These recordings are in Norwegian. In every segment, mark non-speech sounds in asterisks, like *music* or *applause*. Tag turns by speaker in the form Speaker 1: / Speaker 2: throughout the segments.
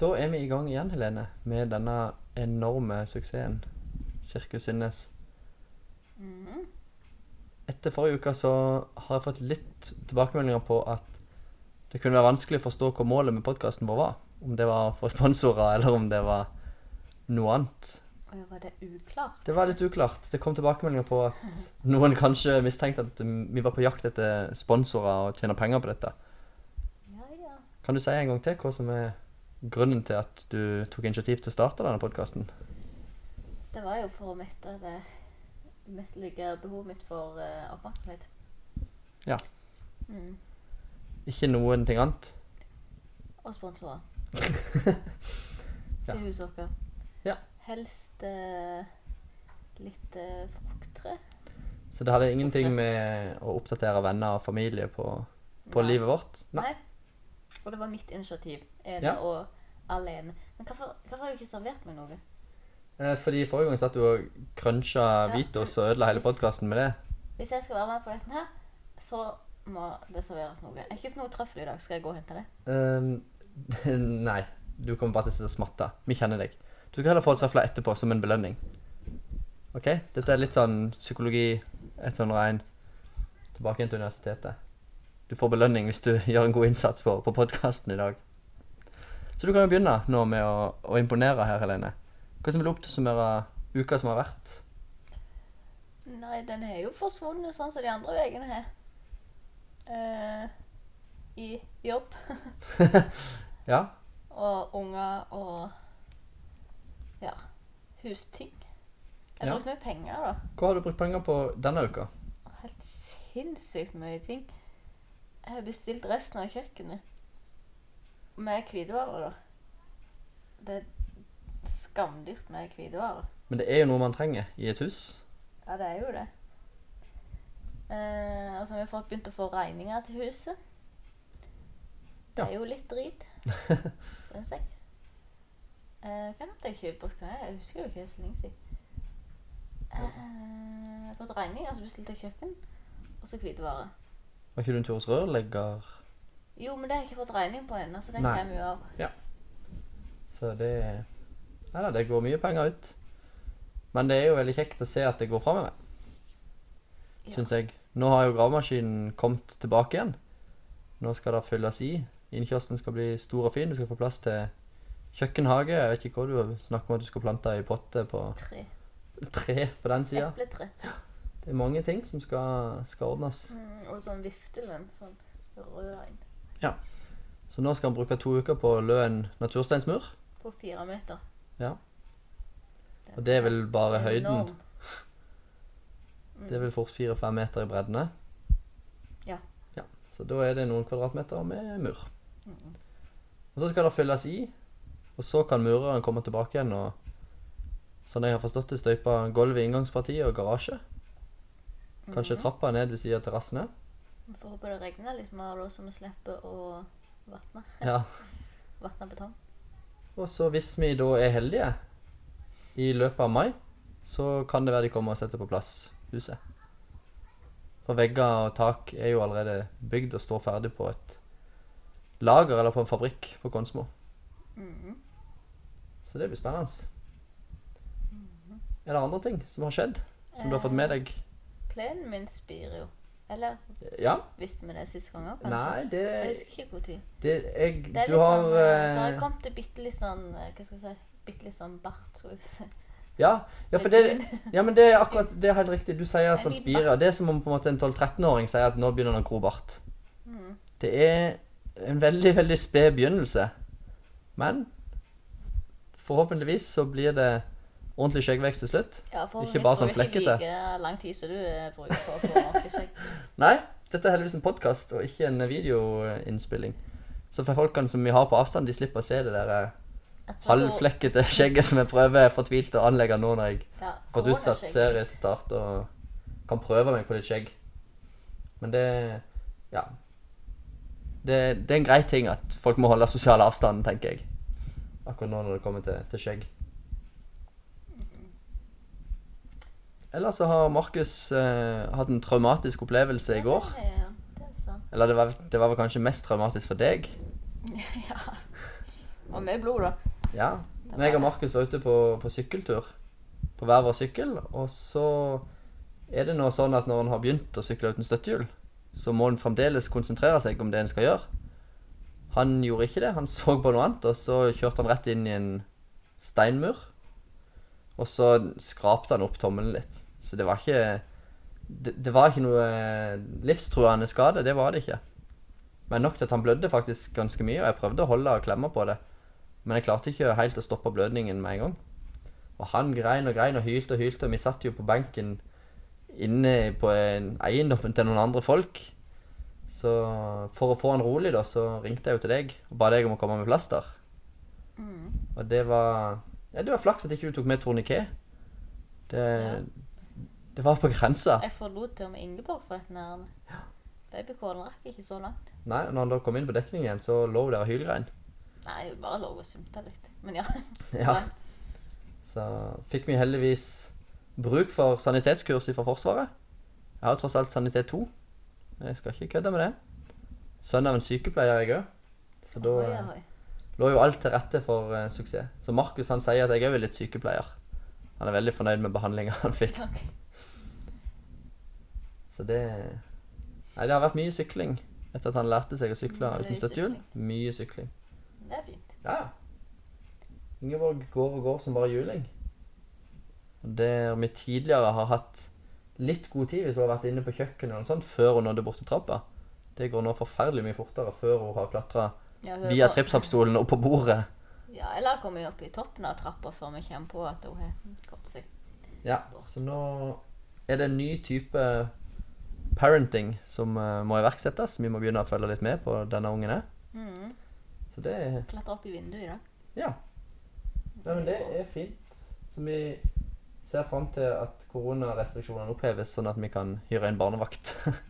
Speaker 1: Da er vi i gang igjen, Helene, med denne enorme suksessen. Sirkus Innes. Etter forrige uke så har jeg fått litt tilbakemeldinger på at det kunne være vanskelig å forstå hva målet med podkasten vår var. Om det var for sponsorer, eller om det var noe annet.
Speaker 2: Oi, var det uklart?
Speaker 1: Det var litt uklart. Det kom tilbakemeldinger på at noen kanskje mistenkte at vi var på jakt etter sponsorer og tjener penger på dette.
Speaker 2: Ja, ja.
Speaker 1: Kan du si en gang til hva som er grunnen til at du tok initiativ til å starte denne podkasten?
Speaker 2: Det var jo for å mette det umettelige behovet mitt for eh, oppmerksomhet.
Speaker 1: Ja.
Speaker 2: Mm.
Speaker 1: Ikke noen ting annet?
Speaker 2: Og sponsorer.
Speaker 1: *laughs* Ja.
Speaker 2: Til huset vårt.
Speaker 1: Ja.
Speaker 2: Helst eh, litt eh, frukttre.
Speaker 1: Så det hadde ingenting med å oppdatere venner og familie på, på
Speaker 2: Nei.
Speaker 1: livet vårt? Nei.
Speaker 2: Nei. Og det var mitt initiativ. Ene
Speaker 1: Ja.
Speaker 2: og alene. Men hvorfor, hvorfor har du ikke servert meg noe?
Speaker 1: Eh, Fordi forrige gang satt du og cruncha
Speaker 2: Ja.
Speaker 1: Vitos og ødela hele podkasten med det.
Speaker 2: Hvis jeg skal være med på dette her, så må det serveres noe. Jeg kjøpte noe trøffel i dag. Skal jeg gå og hente det?
Speaker 1: Ehm, *laughs* nei. Du kommer bare til å sitte og smatte. Vi kjenner deg. Du skal heller få trefla etterpå, som en belønning. OK? Dette er litt sånn psykologi 101 tilbake igjen til universitetet. Du får belønning hvis du *laughs* gjør en god innsats på, på podkasten i dag. Så du kan jo begynne nå med å, å imponere her, Helene. Hva som vil oppsummere uka som har vært?
Speaker 2: Nei, den har jo forsvunnet sånn som de andre veiene har. Eh, I jobb
Speaker 1: Ja?
Speaker 2: og unger og ja, husting. Jeg har
Speaker 1: Ja.
Speaker 2: brukt mye penger, da.
Speaker 1: Hva har du brukt penger på denne uka?
Speaker 2: Helt sinnssykt mye ting. Jeg har bestilt resten av kjøkkenet. Med hvitevarer, da. Det er skamdyrt med hvitevarer.
Speaker 1: Men det er jo noe man trenger i et hus.
Speaker 2: Ja, det er jo det. Eh, og så har vi fått begynt å få regninger til huset. Det
Speaker 1: Ja.
Speaker 2: er jo litt
Speaker 1: *laughs*
Speaker 2: drit, syns jeg. Eh, hva hadde jeg ikke brukt penger? Jeg husker jo ikke det er så lenge siden. Eh, jeg har fått regninger, så bestilte jeg kjøkken, og så hvitevarer.
Speaker 1: Var ikke du en tur hos rørlegger?
Speaker 2: Jo, men det har jeg ikke fått regning på ennå, så den
Speaker 1: Nei.
Speaker 2: kommer jo av.
Speaker 1: Så det Nei da, det går mye penger ut. Men det er jo veldig kjekt å se at det går framover,
Speaker 2: Ja.
Speaker 1: syns jeg. Nå har jo gravemaskinen kommet tilbake igjen. Nå skal det fylles i. Innkjørselen skal bli stor og fin. Du skal få plass til kjøkkenhage. Jeg vet ikke hva du snakker om at du skal plante i potte på *laughs*
Speaker 2: Tre.
Speaker 1: tre på den sida.
Speaker 2: Epletre.
Speaker 1: Det er mange ting som skal, skal ordnes.
Speaker 2: Mm, og sånn viftelen. Sånn rød en
Speaker 1: Så nå skal han bruke to uker på å lø en natursteinsmur.
Speaker 2: på fire meter.
Speaker 1: Ja. Og det er vel bare høyden.
Speaker 2: Enorm. Mm.
Speaker 1: Det er vel fort fire-fem meter i breddene.
Speaker 2: Ja.
Speaker 1: ja. Så da er det noen kvadratmeter med mur. Og så skal det fylles i, og så kan mureren komme tilbake igjen og Sånn jeg har forstått det, støype gulvet i inngangspartiet og garasje. Kanskje trappa ned ved siden av terrassene.
Speaker 2: Mm, Vi får håpe det regner litt mer da, så vi slipper å vatne.
Speaker 1: Ja.
Speaker 2: Vatne betong.
Speaker 1: Og så hvis vi da er heldige i løpet av mai, så kan det være de kommer og setter på plass huset. For vegger og tak er jo allerede bygd og står ferdig på et lager eller på en fabrikk på Konsmo.
Speaker 2: Mhm.
Speaker 1: Så det blir spennende. Er det andre ting som har skjedd, som du har fått med deg?
Speaker 2: Plenen min spyr jo. Eller
Speaker 1: Ja?
Speaker 2: visste vi det siste gang òg, Eh, kanskje?
Speaker 1: Nei, det,
Speaker 2: Jeg husker ikke hvor tid.
Speaker 1: det jeg,
Speaker 2: Det er
Speaker 1: Du
Speaker 2: litt
Speaker 1: har
Speaker 2: sånn eh, Det har
Speaker 1: eh,
Speaker 2: kommet til bitte litt sånn eh, Hva skal jeg si? Bitte litt sånn bart. Skal vi si.
Speaker 1: ja, ja, for det, ja, men det er akkurat Det er helt riktig. Du sier at
Speaker 2: En
Speaker 1: han
Speaker 2: liten
Speaker 1: spirer. Det er som om på en måte en 12-13-åring sier at nå begynner han å gro bart.
Speaker 2: Mhm.
Speaker 1: Det er en veldig, veldig sped begynnelse. Men forhåpentligvis så blir det ordentlig skjeggvekst til slutt.
Speaker 2: *laughs* Ja, for
Speaker 1: Ikke bare
Speaker 2: hvis
Speaker 1: sånn
Speaker 2: du ikke
Speaker 1: flekkete.
Speaker 2: like lang tid som du eh, bruker på å få ordentlig skjegg.
Speaker 1: Nei, dette er heldigvis en podkast og ikke en videoinnspilling. Så for folkene som vi har på avstand, de slipper å se det der eh,
Speaker 2: Jeg tror-
Speaker 1: halvflekkete skjegget som jeg prøver fortvilt å anlegge nå når jeg
Speaker 2: Ja,
Speaker 1: har fått utsatt
Speaker 2: koronaskjegg.
Speaker 1: seriestart og kan prøve meg på litt skjegg. Men det Ja. Det, det er en grei ting at folk må holde sosial avstand, tenker jeg. Akkurat nå når det kommer til, til skjegg. Ellers så har Markus eh, hatt en traumatisk opplevelse i går.
Speaker 2: Ja, det er- det er sant. *laughs*
Speaker 1: Eller det var, det var vel kanskje mest traumatisk for deg.
Speaker 2: Ja. Og med blod, da.
Speaker 1: Ja.
Speaker 2: Det
Speaker 1: Meg
Speaker 2: var-
Speaker 1: og Markus var ute på, på sykkeltur. På hver vår sykkel. Og så er det nå sånn at når en har begynt å sykle uten støttehjul, så må en fremdeles konsentrere seg om det en skal gjøre. Han gjorde ikke det. Han så på noe annet, og så kjørte han rett inn i en steinmur. Og så skrapte han opp tommelen litt. Så det var ikke Det, det var ikke noe eh, livstruende skade. Det var det ikke. Men nok til at han blødde faktisk ganske mye, og jeg prøvde å holde og klemme på det. Men jeg klarte ikke helt å stoppe blødningen med en gang. Og han grein og grein og hylte og hylte, og vi satt jo på benken inne på en eiendommen til noen andre folk. Så for å få han rolig, da, så ringte jeg jo til deg og ba deg om å komme med plaster.
Speaker 2: Mm.
Speaker 1: Og det var Ja, det var flaks at ikke du tok med torniké. Det, det var på grensa.
Speaker 2: Jeg forlot til og med Ingeborg for dette nærmet. Babykålen rakk ikke så langt.
Speaker 1: Nei, og når han da kom inn på dekning igjen, så lå der og hylgrein.
Speaker 2: Nei, hun bare lå og sumta litt. Men ja.
Speaker 1: *laughs* Ja. Så fikk vi heldigvis bruk for sanitetskurs fra Forsvaret. Jeg har jo tross alt sanitet 2. Jeg skal ikke kødde med det. Sønn av en sykepleier jeg òg. Så da
Speaker 2: Oi,
Speaker 1: eh,
Speaker 2: oi.
Speaker 1: lå jo alt til rette for eh, suksess. Så Markus han sier at jeg òg er litt sykepleier. Han er veldig fornøyd med behandlinga han fikk.
Speaker 2: Ok.
Speaker 1: Så det Nei, det har vært mye sykling etter at han lærte seg å sykle
Speaker 2: Mye
Speaker 1: uten støttehjul. Mye sykling.
Speaker 2: Det er fint.
Speaker 1: Ja, ja. Ingeborg går og går som bare juling. Og Der vi tidligere har hatt litt god tid hvis hun har vært inne på kjøkkenet og noe sånt, før hun nådde borti trappa. Det går nå forferdelig mye fortere før hun har klatra
Speaker 2: Ja, hun er
Speaker 1: via
Speaker 2: på-
Speaker 1: trippsappstolen og på bordet.
Speaker 2: Ja, eller kommer vi opp i toppen av trappa før vi kommer på at hun har kommet seg.
Speaker 1: Ja, så nå er det en ny type parenting som eh, må iverksettes. Vi må begynne å følge litt med på denne ungen her.
Speaker 2: Mm.
Speaker 1: Så det er
Speaker 2: Klatre opp i vinduet i dag.
Speaker 1: Ja. Nei, men det er fint. Så vi ser fram til at koronarestriksjonene oppheves, sånn at vi kan hyre inn barnevakt. *laughs*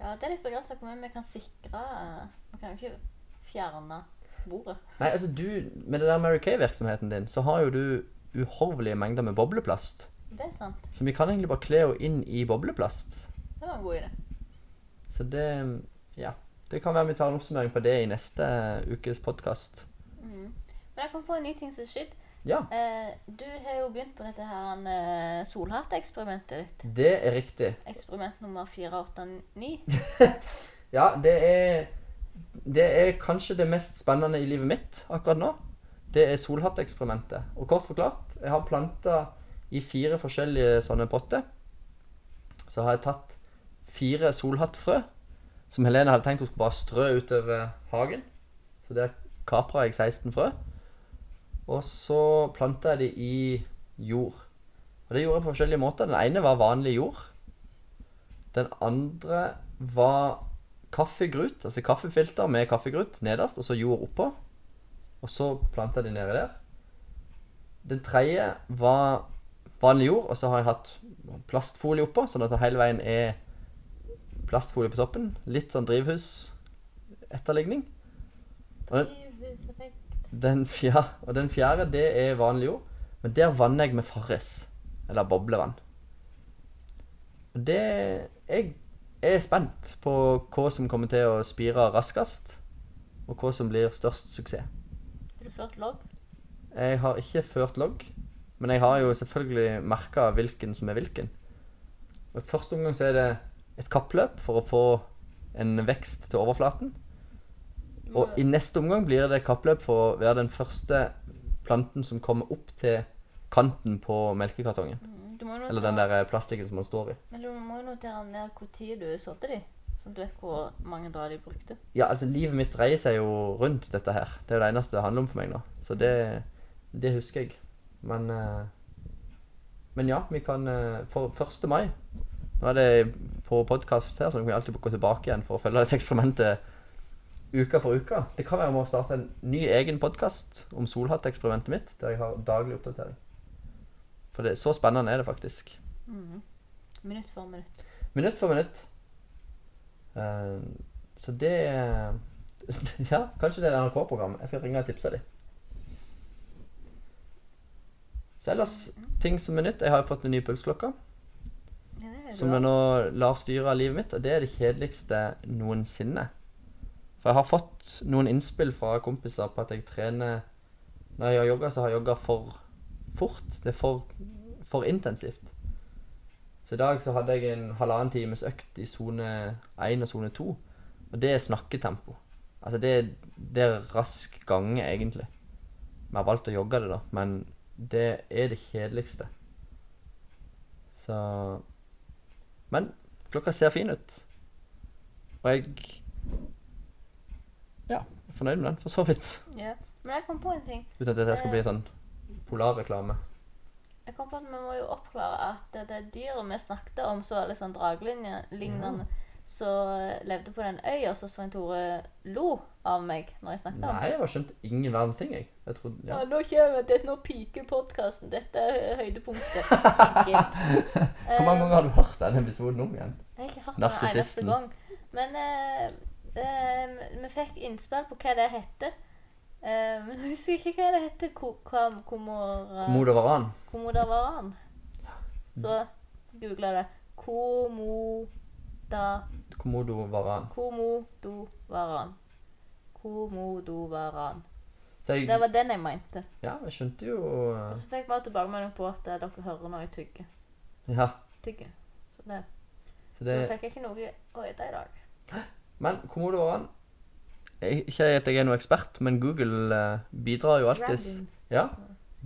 Speaker 2: Ja, det er litt begrensa hvor mye vi kan sikre Vi kan jo ikke fjerne bordet.
Speaker 1: Nei, altså du, Med det der Mary Kay-virksomheten din, så har jo du uhorvelige mengder med bobleplast.
Speaker 2: Det er sant.
Speaker 1: Så vi kan egentlig bare kle henne inn i bobleplast.
Speaker 2: Det var en god idé.
Speaker 1: Så det Ja. Det kan være vi tar en oppsummering på det i neste ukes podkast.
Speaker 2: Mm. Men jeg kom på en ny ting som er shit.
Speaker 1: Ja,
Speaker 2: Eh, du har jo begynt på dette her eh, solhatteksperimentet ditt.
Speaker 1: det er riktig.
Speaker 2: Eksperiment nummer 489.
Speaker 1: Ja, det er Det er kanskje det mest spennende i livet mitt akkurat nå. Det er solhatteksperimentet. Og kort forklart, jeg har planta i fire forskjellige sånne potter. Så har jeg tatt fire solhattfrø, som Helene hadde tenkt hun skulle bare strø utover hagen. Så der kapra jeg 16 frø. Og så planta jeg de i jord. Og det gjorde jeg på forskjellige måter. Den ene var vanlig jord. Den andre var kaffegrut, altså kaffefilter med kaffegrut nederst, og så jord oppå. Og så planta de nedi der. Den tredje var vanlig jord, og så har jeg hatt plastfolie oppå, sånn at det hele veien er plastfolie på toppen. Litt sånn drivhusetterligning. Og den,
Speaker 2: Drivhuseffekt.
Speaker 1: den, fja, og den fjerde, det er vanlig jord. Men der vanner jeg med Farris. Eller boblevann. Og det Jeg er spent på hva som kommer til å spire raskest, og hva som blir størst suksess.
Speaker 2: Har du ført logg?
Speaker 1: Jeg har ikke ført logg, men jeg har jo selvfølgelig merka hvilken som er hvilken. Og I første omgang så er det et kappløp for å få en vekst til overflaten. Og i neste omgang blir det kappløp for å være den første planten som kommer opp til kanten på melkekartongen.
Speaker 2: Mm, Du må jo
Speaker 1: Eller
Speaker 2: notere,
Speaker 1: den der plastikken som man står i.
Speaker 2: Men du må jo notere ned hvor tid du sådde de, sånn at du vet hvor mange dager de brukte.
Speaker 1: Ja, altså livet mitt dreier seg jo rundt dette her. Det er jo det eneste det handler om for meg nå. Så det, det husker jeg. Men, eh, men ja, vi kan eh, For 1. mai Nå er det på podkast her, så nå kan vi alltid gå tilbake igjen for å følge dette eksperimentet uke for uke. Det kan være vi må starte en ny egen podkast om solhatteksperimentet mitt, der jeg har daglig oppdatering. For det, så spennende er det faktisk.
Speaker 2: Mhm. Minutt for minutt.
Speaker 1: Minutt for minutt. Eh, så det *laughs* Ja, kanskje det er et NRK-program. Jeg skal ringe og tipse dem. Så ellers, ting som er nytt Jeg har jo fått en ny pulsklokke
Speaker 2: Ja, det er jo
Speaker 1: som
Speaker 2: bra.
Speaker 1: jeg nå lar styre livet mitt, og det er det kjedeligste noensinne. For jeg har fått noen innspill fra kompiser på at jeg trener Når jeg gjør yoga, så har jeg yoga for fort. Det er for, for intensivt. Så i dag så hadde jeg en halvannen times økt i sone 1 og sone 2. Og det er snakketempo. Altså det, det er rask gange, egentlig. Vi har valgt å jogge det, da, men det er det kjedeligste. Så Men klokka ser fin ut. Og jeg Ja, er fornøyd med den, for så vidt.
Speaker 2: Ja. Men jeg kom på en ting.
Speaker 1: Uten at dette skal bli sånn polarreklame.
Speaker 2: Jeg kom på at Vi må jo oppklare at det, det dyret vi snakket om, så veldig sånn dragelignende, som levde på den øya, så Svein Tore lo av meg når jeg snakket om
Speaker 1: Nei,
Speaker 2: det.
Speaker 1: jeg har skjønt ingen verdens ting, jeg. jeg trodde,
Speaker 2: Ja,
Speaker 1: ja.
Speaker 2: nå kommer det, nå piker podkasten. Dette er
Speaker 1: *laughs*
Speaker 2: høydepunktet. Gitt.
Speaker 1: Hvor mange ganger har du hørt den episoden om igjen?
Speaker 2: Jeg har ikke hørt det en eneste
Speaker 1: Narsissisten.
Speaker 2: gang. Men eh, eh, vi fikk innspill på hva det hette. Eh, men jeg husker ikke hva det hette. Ko- kam- komora-
Speaker 1: Mot over annen.
Speaker 2: Komodavaran. Så googla det. Komoda
Speaker 1: Komodo varan.
Speaker 2: Komodovaran. Komodovaran.
Speaker 1: Så jeg,
Speaker 2: Det var den jeg mente.
Speaker 1: ja, jeg skjønte jo eh,
Speaker 2: Og så fikk vi også tilbakemelding på at eh, dere hører når jeg tygger.
Speaker 1: Ja,
Speaker 2: tygger. Så, det.
Speaker 1: så
Speaker 2: så
Speaker 1: det
Speaker 2: fikk jeg ikke noe å ete i dag.
Speaker 1: Men komodo varan Jeg- Ikke at jeg er noen ekspert, men Google eh, bidrar jo alltid.
Speaker 2: Dragon.
Speaker 1: Ja.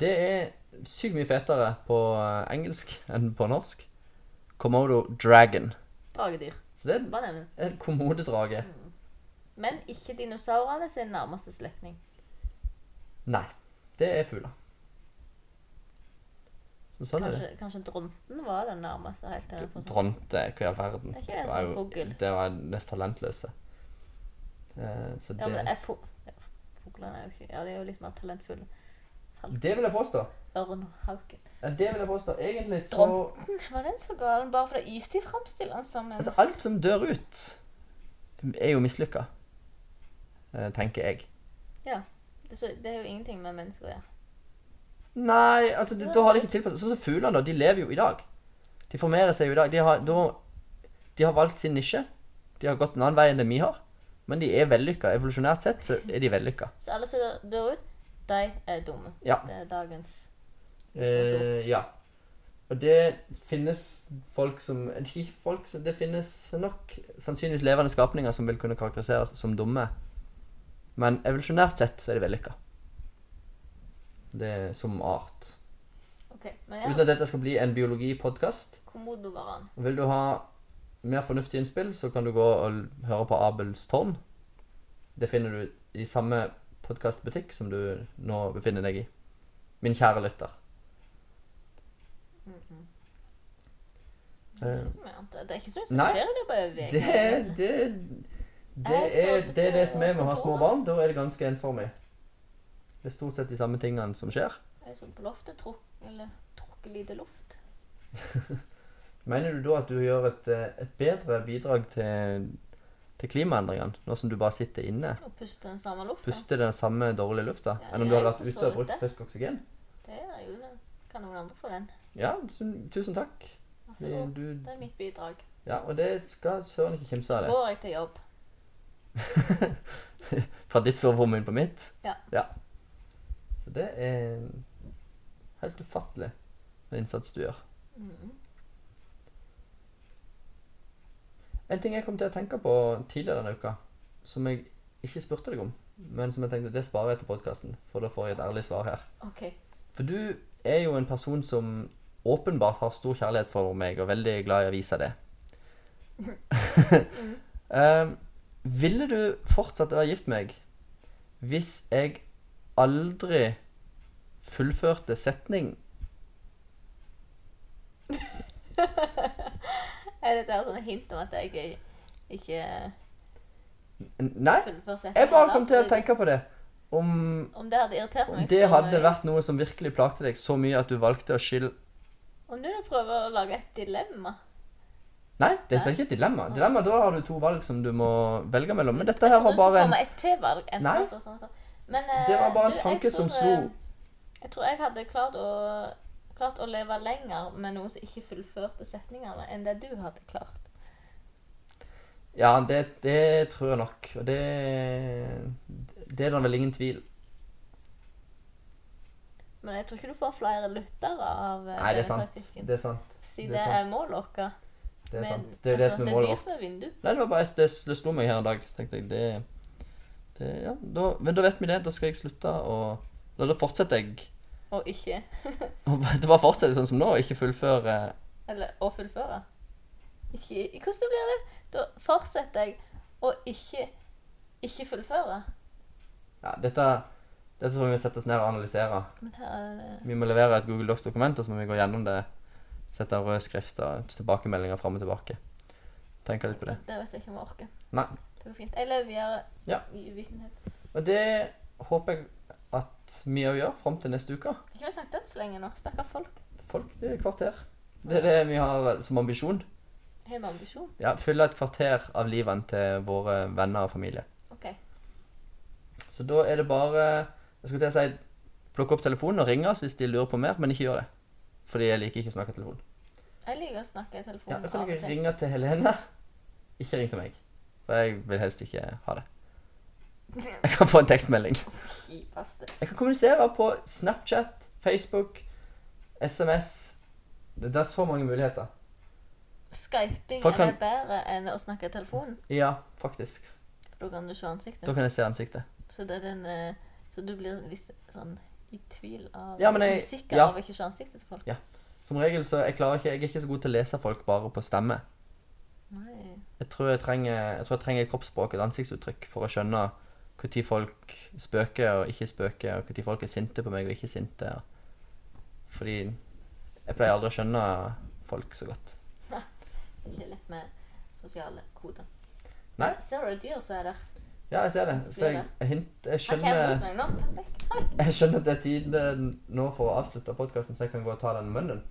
Speaker 1: Det er sykt mye fetere på eh, engelsk enn på norsk. Komodo dragon.
Speaker 2: Dragedyr.
Speaker 1: Så det er
Speaker 2: Bare nevn det.
Speaker 1: en komodedrage.
Speaker 2: Men ikke dinosaurene sin nærmeste slektning.
Speaker 1: Nei, det er fugler. Så sånn er det.
Speaker 2: Kanskje, kanskje dronten var den nærmeste helt til den forsvant.
Speaker 1: Dronte, hva i all verden.
Speaker 2: Er ikke sånn- det en
Speaker 1: var
Speaker 2: sånn
Speaker 1: jo-
Speaker 2: fugl?
Speaker 1: Det var den mest talentløse. Eh, så det,
Speaker 2: Ja, men er fo ja, fuglene er jo ikke Ja, de er jo litt mer talentfulle.
Speaker 1: det vil jeg påstå.
Speaker 2: Ørn og hauken. *laughs*
Speaker 1: Ja, det vil jeg påstå. Egentlig så
Speaker 2: Dronten. Var den så galen bare fordi istid framstiller den som en
Speaker 1: Altså, alt som dør ut, er jo mislykka. Eh, tenker jeg.
Speaker 2: så Det er jo ingenting med mennesker å gjøre.
Speaker 1: Nei, altså, det, da har de ikke tilpasset Sånn som fuglene, da. De lever jo i dag. De formerer seg jo i dag. De har, da, de har valgt sin nisje. De har gått en annen vei enn det vi har. Men de er vellykka. Evolusjonært sett så er de vellykka.
Speaker 2: Så alle som dør- dør ut, de er dumme.
Speaker 1: Ja.
Speaker 2: Det er dagens
Speaker 1: Eh, ja. Og det finnes folk som de folk, som- Det finnes nok sannsynligvis levende skapninger som vil kunne karakteriseres som dumme. Men evolusjonært sett så er de vellykka. Det er som art.
Speaker 2: OK. Men
Speaker 1: Uten
Speaker 2: ja,
Speaker 1: at dette skal bli en biologipodkast,
Speaker 2: komodovaran.
Speaker 1: vil du ha mer fornuftige innspill, så kan du gå og l- høre på Abels tårn. Det finner du i samme podkastbutikk som du nå befinner deg i. Min kjære lytter.
Speaker 2: Mm -mm.
Speaker 1: Eh,
Speaker 2: Det, er ikke så mye annet. det er ikke så mye som
Speaker 1: Nei.
Speaker 2: skjer i løpet av en uke.
Speaker 1: Det, det, det,
Speaker 2: Jeg
Speaker 1: er,
Speaker 2: så
Speaker 1: det er det
Speaker 2: på
Speaker 1: som er med å ha små
Speaker 2: kontoret.
Speaker 1: barn. Da er det ganske ensformig. Det er stort sett de samme tingene som skjer.
Speaker 2: Jeg satt sånn på loftet trukk- eller trukket lite luft.
Speaker 1: Mener du da at du gjør et, eh, et bedre bidrag til, til klimaendringene, nå som du bare sitter inne?
Speaker 2: Og puste den samme lufta.
Speaker 1: Puster den samme dårlige lufta,
Speaker 2: Ja,
Speaker 1: enn om du hadde
Speaker 2: jeg
Speaker 1: vært
Speaker 2: forstår
Speaker 1: ute og
Speaker 2: det.
Speaker 1: brukt frisk oksygen?
Speaker 2: Det er jo det. Kan noen andre få den?
Speaker 1: Ja, tu- tusen takk.
Speaker 2: Vær så
Speaker 1: Det-
Speaker 2: god.
Speaker 1: Du,
Speaker 2: Det er mitt bidrag.
Speaker 1: ja, og det skal søren ikke kimse av det.
Speaker 2: Går jeg til jobb?
Speaker 1: *laughs* Fra ditt soverom inn på mitt?
Speaker 2: Ja.
Speaker 1: Så det er helt ufattelig, den innsats du gjør.
Speaker 2: Mhm.
Speaker 1: En ting jeg kom til å tenke på tidligere denne uka, som jeg ikke spurte deg om, men som jeg tenkte det sparer jeg til podkasten, for da får jeg et ærlig svar her.
Speaker 2: OK.
Speaker 1: For du er jo en person som åpenbart har stor kjærlighet for meg, og veldig glad i å vise det.
Speaker 2: *laughs* Mm.
Speaker 1: um, ville du fortsatt være gift med meg hvis jeg aldri fullførte setning
Speaker 2: Er dette her sånne hint om at jeg ikke- ikke
Speaker 1: N- Nei,
Speaker 2: fullfører setningen?
Speaker 1: jeg bare
Speaker 2: da?
Speaker 1: kom til å tenke på det. Om
Speaker 2: Om det hadde irritert
Speaker 1: Om
Speaker 2: meg
Speaker 1: det
Speaker 2: så
Speaker 1: hadde
Speaker 2: mye.
Speaker 1: vært noe som virkelig plagte deg så mye at du valgte å skille
Speaker 2: Om du nå prøver å lage et dilemma
Speaker 1: Nei, dette er ikke et dilemma. Dilemma, Da har du to valg som du må velge mellom. Men dette her
Speaker 2: Mm.
Speaker 1: var
Speaker 2: Jeg trodde det
Speaker 1: bare
Speaker 2: skulle
Speaker 1: en
Speaker 2: komme et til valg. enten
Speaker 1: Nei.
Speaker 2: eller sånt. Men, eh,
Speaker 1: Det var bare en
Speaker 2: du, jeg
Speaker 1: tanke som
Speaker 2: tror,
Speaker 1: slo.
Speaker 2: eh, Jeg tror jeg hadde klart å, klart å leve lenger med noen som ikke fullførte setningene, enn det du hadde klart.
Speaker 1: Ja, det, det tror jeg nok. Og det Det er da vel ingen tvil.
Speaker 2: Men jeg tror ikke du får flere lyttere av eh,
Speaker 1: Nei, det er
Speaker 2: denne
Speaker 1: sant.
Speaker 2: taktikken.
Speaker 1: Det er sant.
Speaker 2: Siden
Speaker 1: det eh,
Speaker 2: det
Speaker 1: er
Speaker 2: er målet vårt.
Speaker 1: Det er
Speaker 2: Men,
Speaker 1: sant. Det er jo det
Speaker 2: altså,
Speaker 1: som er målet vårt.
Speaker 2: Det er dyrt med vindu.
Speaker 1: Nei, det var bare det, det slo meg her i dag. tenkte jeg, det, det ja, da, Men da vet vi det. Da skal jeg slutte å Da, da fortsetter jeg.
Speaker 2: Og ikke
Speaker 1: å bare- Det bare fortsetter sånn som nå, og ikke fullføre
Speaker 2: Eller å fullføre. Ikke i- Hvordan blir det? Da fortsetter jeg å ikke ikke fullføre.
Speaker 1: Ja, dette Dette får vi sette oss ned og analysere.
Speaker 2: Men her er det
Speaker 1: Vi må levere et Google Docs-dokument, og så må vi gå gjennom det. Sette rød skrift og tilbakemeldinger fram og tilbake. Tenke litt på det.
Speaker 2: Det vet jeg ikke om jeg orker.
Speaker 1: Nei.
Speaker 2: Det går fint. Jeg lever videre
Speaker 1: Ja.
Speaker 2: i uvitenhet.
Speaker 1: Og det håper jeg at vi òg gjør fram til neste uke.
Speaker 2: Ikke har snakket dødslenge nå. Stakkars folk.
Speaker 1: Folk blir et kvarter. Det er det vi har som ambisjon.
Speaker 2: Har vi ambisjon?
Speaker 1: Ja, Fylle et kvarter av livet til våre venner og familie.
Speaker 2: OK.
Speaker 1: Så da er det bare Jeg skulle til å si plukke opp telefonen og ringe oss hvis de lurer på mer, men ikke gjør det. Fordi jeg liker ikke å snakke i telefon.
Speaker 2: Jeg liker å snakke i
Speaker 1: Ja,
Speaker 2: telefonen
Speaker 1: da kan
Speaker 2: av og
Speaker 1: dere
Speaker 2: til.
Speaker 1: ringe til Helene. Ikke ring til meg. For jeg vil helst ikke ha det.
Speaker 2: *laughs*
Speaker 1: Jeg kan få en tekstmelding.
Speaker 2: Kjipaste.
Speaker 1: Jeg kan kommunisere på Snapchat, Facebook, SMS. Det det er så mange muligheter.
Speaker 2: Skyping
Speaker 1: Folk kan-
Speaker 2: er bedre enn å snakke i telefonen.
Speaker 1: Ja, faktisk.
Speaker 2: Da kan du se
Speaker 1: Da
Speaker 2: ansiktet.
Speaker 1: kan jeg se ansiktet.
Speaker 2: Så, det er den, eh, så du blir litt sånn i tvil av
Speaker 1: Ja, men jeg-
Speaker 2: Usikker
Speaker 1: ja.
Speaker 2: av å ikke se ansiktet til folk.
Speaker 1: Som regel så jeg klarer ikke, jeg er ikke så god til å lese folk bare på stemme.
Speaker 2: Nei.
Speaker 1: Jeg tror jeg trenger, jeg tror jeg trenger kroppsspråk og et ansiktsuttrykk for å skjønne når folk spøker og ikke spøker, og når folk er sinte på meg og ikke sinte. Fordi jeg pleier aldri å skjønne folk så godt.
Speaker 2: Det er ikke lett med sosiale koder.
Speaker 1: Nei.
Speaker 2: Ser du dyr som er der?
Speaker 1: Ja, jeg ser det. Så jeg, jeg, hint, jeg,
Speaker 2: Han kommer mot
Speaker 1: skjønner,
Speaker 2: meg nå. Ta vekk. Hei.
Speaker 1: jeg skjønner at det er tiden nå for å avslutte podkasten, så jeg kan gå og ta den munnen.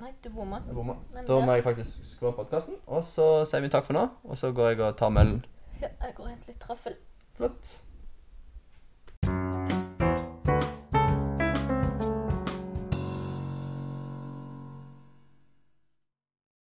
Speaker 2: Nei, du bomma.
Speaker 1: Jeg bomma.
Speaker 2: Nei, men
Speaker 1: Da
Speaker 2: det-
Speaker 1: må jeg faktisk skru av podkasten, og så sier vi takk for nå. Og så går jeg og tar møllen.
Speaker 2: Ja, jeg går og henter litt trøffel.
Speaker 1: Flott.